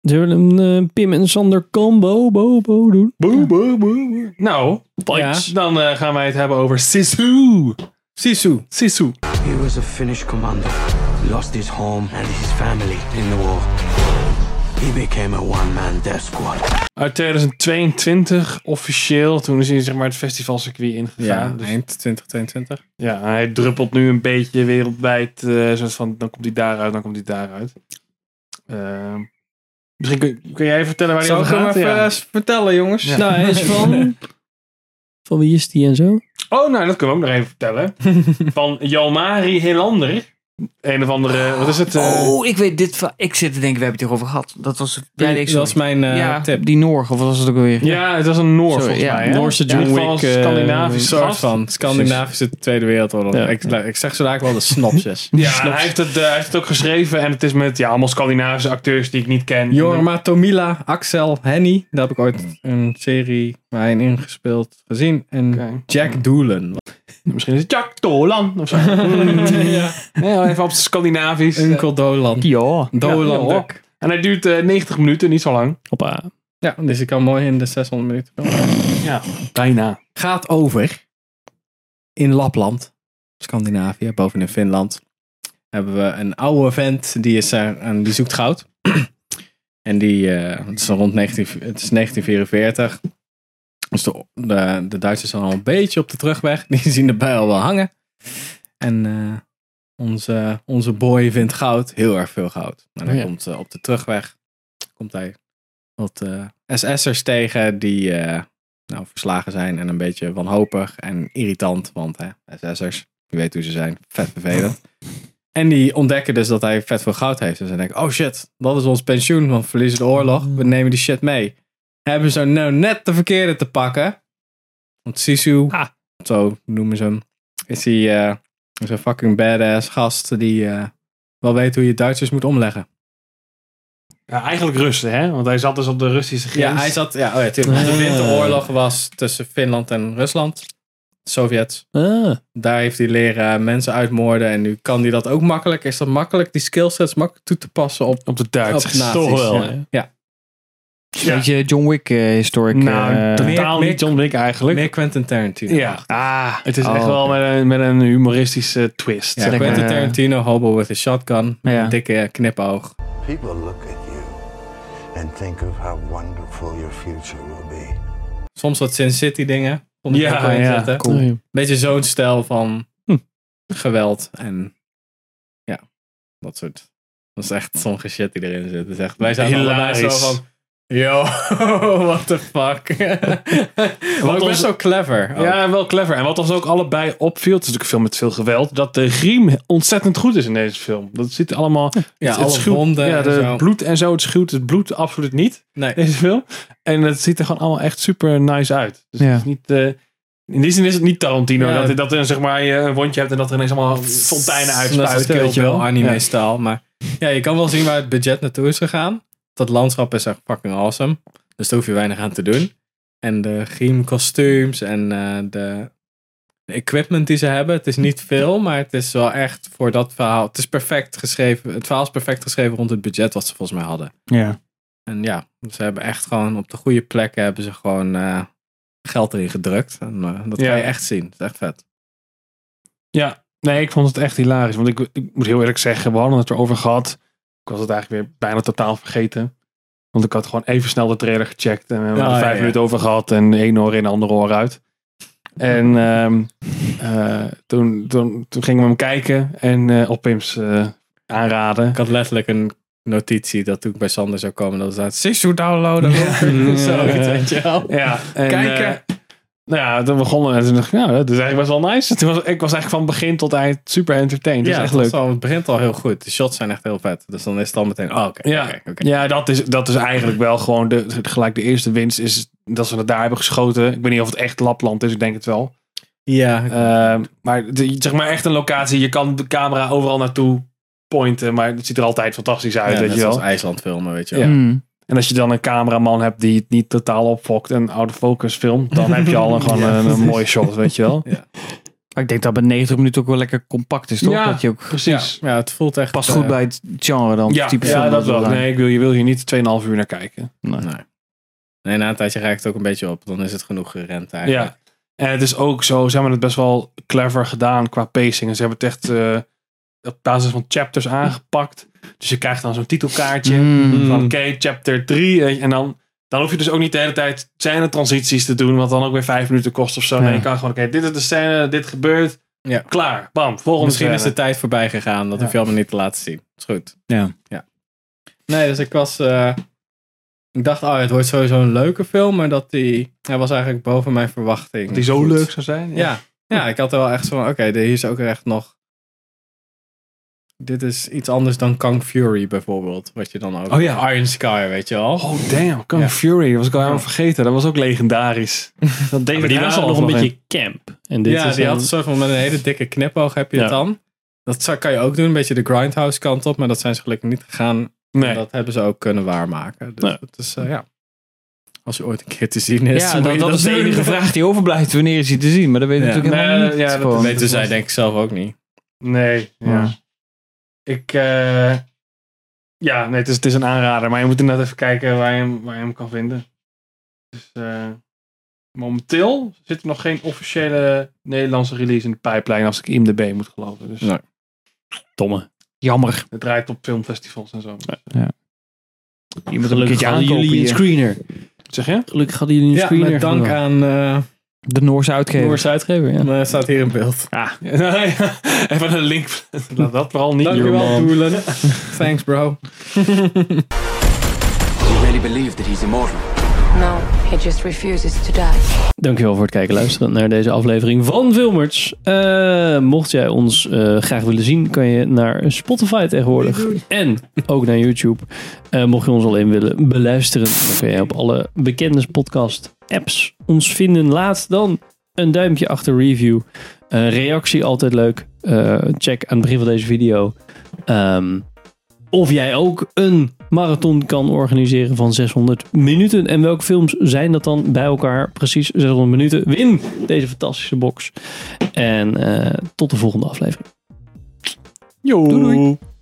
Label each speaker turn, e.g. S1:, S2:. S1: Zullen we een eh, Pim en Sander combo bo, bo doen?
S2: Boe, boe, boe, boe. Nou,
S1: Thanks.
S2: ja, dan eh, gaan wij het hebben over Sisu.
S1: Sisu.
S2: Sisu.
S3: He was a Finnish commando, lost his home and his family in the war. He became a one-man death squad.
S2: Uit 2022 officieel. Toen is hij zeg maar het festivalcircuit ingegaan.
S4: Ja,
S2: Dus
S4: eind 2022.
S2: Ja, hij druppelt nu een beetje wereldwijd. eh soort van, dan komt hij daaruit, dan komt hij daaruit. Ehm, misschien kun, kun jij vertellen waar hij
S4: Zal
S2: over
S4: ik hem
S2: gaat?
S4: even
S2: Ja.
S4: eh, vertellen, jongens?
S2: Ja.
S1: Nou, hij is van... Van wie is die en zo?
S2: Oh, nou, dat kunnen we ook nog even vertellen. Van Jalmari Helander. Een of andere, wat is het? eh,
S5: Oh, ik weet dit. va- Ik zit te denken, we hebben het hierover gehad. Dat was. Ja,
S4: dat was mijn eh,
S5: ja,
S4: tip.
S5: Die Noor, of wat was het ook alweer?
S2: ja, het was een Noor
S5: Sorry,
S2: volgens
S5: ja.
S2: mij. Hè?
S4: Noorse John
S2: In ieder geval
S4: Wick.
S2: een
S4: eh,
S2: Scandinavisch
S4: soort
S2: gast.
S4: van. Scandinavische Tweede Wereldoorlog.
S1: Ja.
S4: Ik, ik zeg zo dadelijk wel de synopsis.
S2: Ja, en hij heeft, het, eh, hij heeft het ook geschreven. En het is met ja, allemaal Scandinavische acteurs die ik niet ken.
S4: Jorma, Tomila, Axel, Henny. Daar heb ik ooit een serie waar hij in ingespeeld gezien. En
S2: Oké.
S4: Jack Doolan.
S2: Misschien is het Jack Dolan of zo. ja. Even op het Scandinavisch. eh.
S4: Uncle Dolan.
S1: Ja.
S4: Dolan
S2: Ja, ja.
S4: Duck.
S2: En hij duurt eh, 90 minuten, niet zo lang.
S1: Hoppa.
S4: Ja, dus ik kan mooi in de 600 minuten filmen.
S2: Ja, bijna.
S4: Gaat over in Lapland, Scandinavië, boven in Finland. Hebben we een oude vent die, is daar, en die zoekt goud. en die, eh, het is al rond 19, het is 1944. Dus de, de, de Duitsers zijn al een beetje op de terugweg. Die zien de bijl wel hangen. En eh, onze, onze boy vindt goud, heel erg veel goud. En hij
S1: Oh ja.
S4: komt eh, op de terugweg, komt hij wat eh, SS'ers tegen die eh, nou, verslagen zijn en een beetje wanhopig en irritant. Want hè, SS'ers, je weet hoe ze zijn, vet vervelend. En die ontdekken dus dat hij vet veel goud heeft. Dus ze denken, oh shit, dat is ons pensioen, want we verliezen de oorlog. We nemen die shit mee. Hebben ze nou net de verkeerde te pakken. Want Sisu,
S1: Ah.
S4: zo noemen ze hem, is hij eh, is een fucking badass gast die eh, wel weet hoe je Duitsers moet omleggen.
S2: Ja, eigenlijk Russen, hè? Want hij zat dus op de Russische grens.
S4: Ja, hij zat, ja, oh ja, tuurlijk.
S1: Ah.
S4: De winteroorlog was tussen Finland en Rusland. Sovjets.
S1: Ah.
S4: Daar heeft hij leren mensen uitmoorden. En nu kan hij dat ook makkelijk. Is dat makkelijk? Die skillsets makkelijk toe te passen op.
S2: op de Duits.
S4: Op nazi's,
S2: Toch wel.
S1: ja.
S2: hè?
S5: Een beetje John Wick eh, historic.
S2: Nou,
S5: eh,
S2: totaal
S4: Mick-
S2: niet John Wick eigenlijk.
S4: Meer Quentin Tarantino.
S2: Ja. Ah, het is
S5: oh,
S2: echt wel
S5: oké.
S2: met een, met een humoristische twist.
S4: Ja,
S2: zeg maar.
S4: Quentin
S5: eh,
S4: Tarantino, hobo with a shotgun.
S5: Ja.
S4: Een dikke knipoog.
S6: People look at you and think of how wonderful your future will be.
S4: Soms wat Sin City dingen. Kon ik
S2: Ja,
S4: er ook wel in
S2: ja,
S4: zetten.
S5: cool.
S1: Oh, ja.
S4: Beetje zo'n stijl van
S1: Hm.
S4: geweld. En ja, dat soort. Dat is echt sommige shit die erin zit. Dat is echt, wij zijn allebei zo
S2: Hilarisch.
S4: van... Yo, what the fuck. Wat
S2: ons-
S4: best wel clever. ook.
S2: Ja, wel clever. En wat ons ook allebei opviel, het is natuurlijk een film met veel geweld, dat de griem ontzettend goed is in deze film. Dat zit allemaal...
S4: Ja,
S2: het,
S4: alle
S2: schuwt-
S4: wonden
S2: Ja,
S4: en
S2: de
S4: zo.
S2: bloed en zo, het schuwt het bloed absoluut niet.
S4: Nee.
S2: deze film. En het ziet er gewoon allemaal echt super nice uit. Dus
S5: Ja.
S2: het is niet, eh, in die zin is het niet Tarantino.
S4: Ja.
S2: Dat, dat er zeg maar, je een wondje hebt en dat er ineens allemaal fonteinen
S4: Dat is
S2: uitspuiten.
S4: Kill
S2: weet je
S4: Bill
S2: wel. Ja.
S4: anime-stijl. Maar ja, je kan wel zien waar het budget naartoe is gegaan. Dat landschap is echt fucking awesome. Dus daar hoef je weinig aan te doen. En de griem kostuums en eh, de, de equipment die ze hebben. Het is niet veel, maar het is wel echt voor dat verhaal. Het is perfect geschreven. Het verhaal is perfect geschreven rond het budget wat ze volgens mij hadden.
S5: Ja.
S4: En ja, ze hebben echt gewoon op de goede plekken hebben ze gewoon eh, geld erin gedrukt. En eh, dat
S2: Ja.
S4: kan je echt zien. Het is echt vet.
S2: Ja. nee, ik vond het echt hilarisch. Want ik, ik moet heel eerlijk zeggen, we hadden het erover gehad. Ik was het eigenlijk weer bijna totaal vergeten. Want ik had gewoon even snel de trailer gecheckt. En we hadden
S4: Ah,
S2: er
S4: ja,
S2: vijf
S4: ja.
S2: minuten over gehad. En de ene oor in, de andere oor uit. En ehm, eh, toen, toen, toen gingen we hem kijken. En eh, op Pim's eh, aanraden.
S4: Ik had letterlijk een notitie dat toen ik bij Sander zou komen, dat staat Sisu downloaden. Zoiets, weet je wel.
S2: Ja, en,
S4: Kijken.
S2: eh, nou ja, toen begonnen en toen dacht ik, nou, dat is eigenlijk best wel nice. En Toen was, ik was eigenlijk van begin tot eind super entertained. Dat
S4: Ja,
S2: is echt
S4: het,
S2: leuk.
S4: is al- het begint al heel goed. De shots zijn echt heel vet. Dus dan is het al meteen, oh, oké,
S2: Ja,
S4: oké, oké.
S2: ja dat, is, dat is eigenlijk wel gewoon de, gelijk de eerste winst is dat ze het daar hebben geschoten. Ik weet niet of het echt Lapland is, ik denk het wel.
S4: Ja,
S5: Eh,
S2: Ehm, maar de- zeg maar echt een locatie, je kan de camera overal naartoe pointen, maar het ziet er altijd fantastisch uit,
S4: ja,
S2: weet
S4: net
S2: je
S4: zoals
S2: wel.
S4: IJsland filmen, weet je
S2: Ja.
S4: wel.
S5: mm.
S2: En als je dan een cameraman hebt die het niet totaal opfokt en out of focus filmt, dan heb je al een, gewoon
S4: Ja,
S2: een, een
S4: precies.
S2: mooie shot, weet je wel.
S4: Ja.
S5: Maar ik denk dat bij 90 minuten ook wel lekker compact is, toch?
S2: Ja.
S5: Dat je ook
S2: Precies.
S4: Ja, het voelt echt...
S5: past
S4: eh,
S5: goed bij het genre dan.
S2: Ja,
S5: het type
S2: ja,
S5: film
S2: dat wel.
S5: we zijn.
S2: Nee, ik wil, je wil hier niet 2,5 uur naar kijken.
S4: Nee. nee, na een tijdje raakt het ook een beetje op. Dan is het genoeg gerend eigenlijk.
S2: Ja. En het is ook zo, ze hebben het best wel clever gedaan qua pacing. En ze hebben het echt eh, op basis van chapters aangepakt. Dus je krijgt dan zo'n titelkaartje.
S5: Mm.
S2: Van oké, chapter 3. En dan, dan hoef je dus ook niet de hele tijd scène transities te doen. Wat dan ook weer vijf minuten kost of zo.
S5: Ja.
S2: Nee, je kan gewoon, oké, dit is de scène, dit gebeurt.
S4: Ja.
S2: Klaar, bam, volgende
S4: Misschien is de
S2: scène.
S4: tijd voorbij gegaan. Dat
S2: Ja.
S4: hoef je allemaal niet te laten zien. Is goed.
S5: Ja.
S4: ja. Nee, dus ik was... eh, ik dacht, oh, het wordt sowieso een leuke film. Maar dat die... Hij was eigenlijk boven mijn verwachting.
S2: Dat die zo
S4: goed.
S2: leuk zou zijn.
S4: Ja. Ja, ik had er wel echt zo van... Oké, de- hier is ook echt nog... Dit is iets anders dan Kang Fury bijvoorbeeld. Wat je dan ook...
S2: Oh ja.
S4: Iron Sky, weet je wel.
S2: Oh damn, Kung
S4: Ja.
S2: Fury. Dat was ik al helemaal vergeten. Dat was ook legendarisch.
S1: Dat deed
S2: Maar die
S1: die
S2: waren
S1: laatste
S2: al
S1: nog een
S2: nog
S1: beetje camp. En dit
S4: ja,
S1: is
S4: die
S1: dan-
S4: had een soort van met een hele dikke knipoog heb je het
S1: Ja.
S4: dan. Dat zou- kan je ook doen, een beetje de grindhouse kant op, maar dat zijn ze gelukkig niet gegaan. En
S2: Nee.
S4: dat hebben ze ook kunnen waarmaken. Dus
S1: Nee.
S4: dat is, eh, ja. Als je ooit een keer te zien is,
S5: Ja,
S4: moet
S5: dat,
S4: je
S5: dat is de
S4: doen.
S5: enige vraag die overblijft wanneer is hij te zien. Maar dat weet je
S4: Ja.
S5: natuurlijk helemaal
S2: Nee,
S5: niet.
S2: ja, dat
S5: Gewoon.
S4: weten zij denk ik zelf ook niet.
S2: Nee, ja.
S5: Ja.
S2: Ik, eh, ja, nee, het is, het is een aanrader, maar je moet inderdaad even kijken waar je hem, waar je hem kan vinden. Dus, eh, momenteel zit er nog geen officiële Nederlandse release in de pijplijn, als ik IMDb moet geloven. Dus
S4: Nee.
S1: Domme.
S5: Jammer.
S2: het draait op filmfestivals en zo.
S1: Je moet
S5: Gelukkig
S1: een
S5: hadden
S1: aankopen
S5: jullie een
S1: hier.
S5: screener.
S2: Zeg je?
S1: Gelukkig hadden jullie een
S4: Ja,
S1: screener.
S4: met dank
S1: gedaan.
S4: aan eh
S5: De Noorse uitgever.
S1: Noorse uitgever, ja.
S4: maar het staat hier in beeld.
S2: even een link. Laat dat vooral niet.
S4: Dankjewel,
S2: Johan.
S4: Doelen. Thanks, bro.
S3: You really believe that he's immortal?
S7: No, he just refuses to die.
S1: Dankjewel voor het kijken en luisteren naar deze aflevering van Filmers. Eh, mocht jij ons eh, graag willen zien, kan je naar Spotify tegenwoordig. En ook naar YouTube. Eh, mocht je ons alleen willen beluisteren, dan kun je op alle bekende podcast apps ons vinden. Laat dan een duimpje achter review. Eh, reactie altijd leuk. Eh, check aan het begin van deze video. ehm, of jij ook een marathon kan organiseren van 600 minuten. En welke films zijn dat dan bij elkaar? Precies 600 minuten. Win deze fantastische box. En eh, tot de volgende aflevering.
S2: Doei, doei.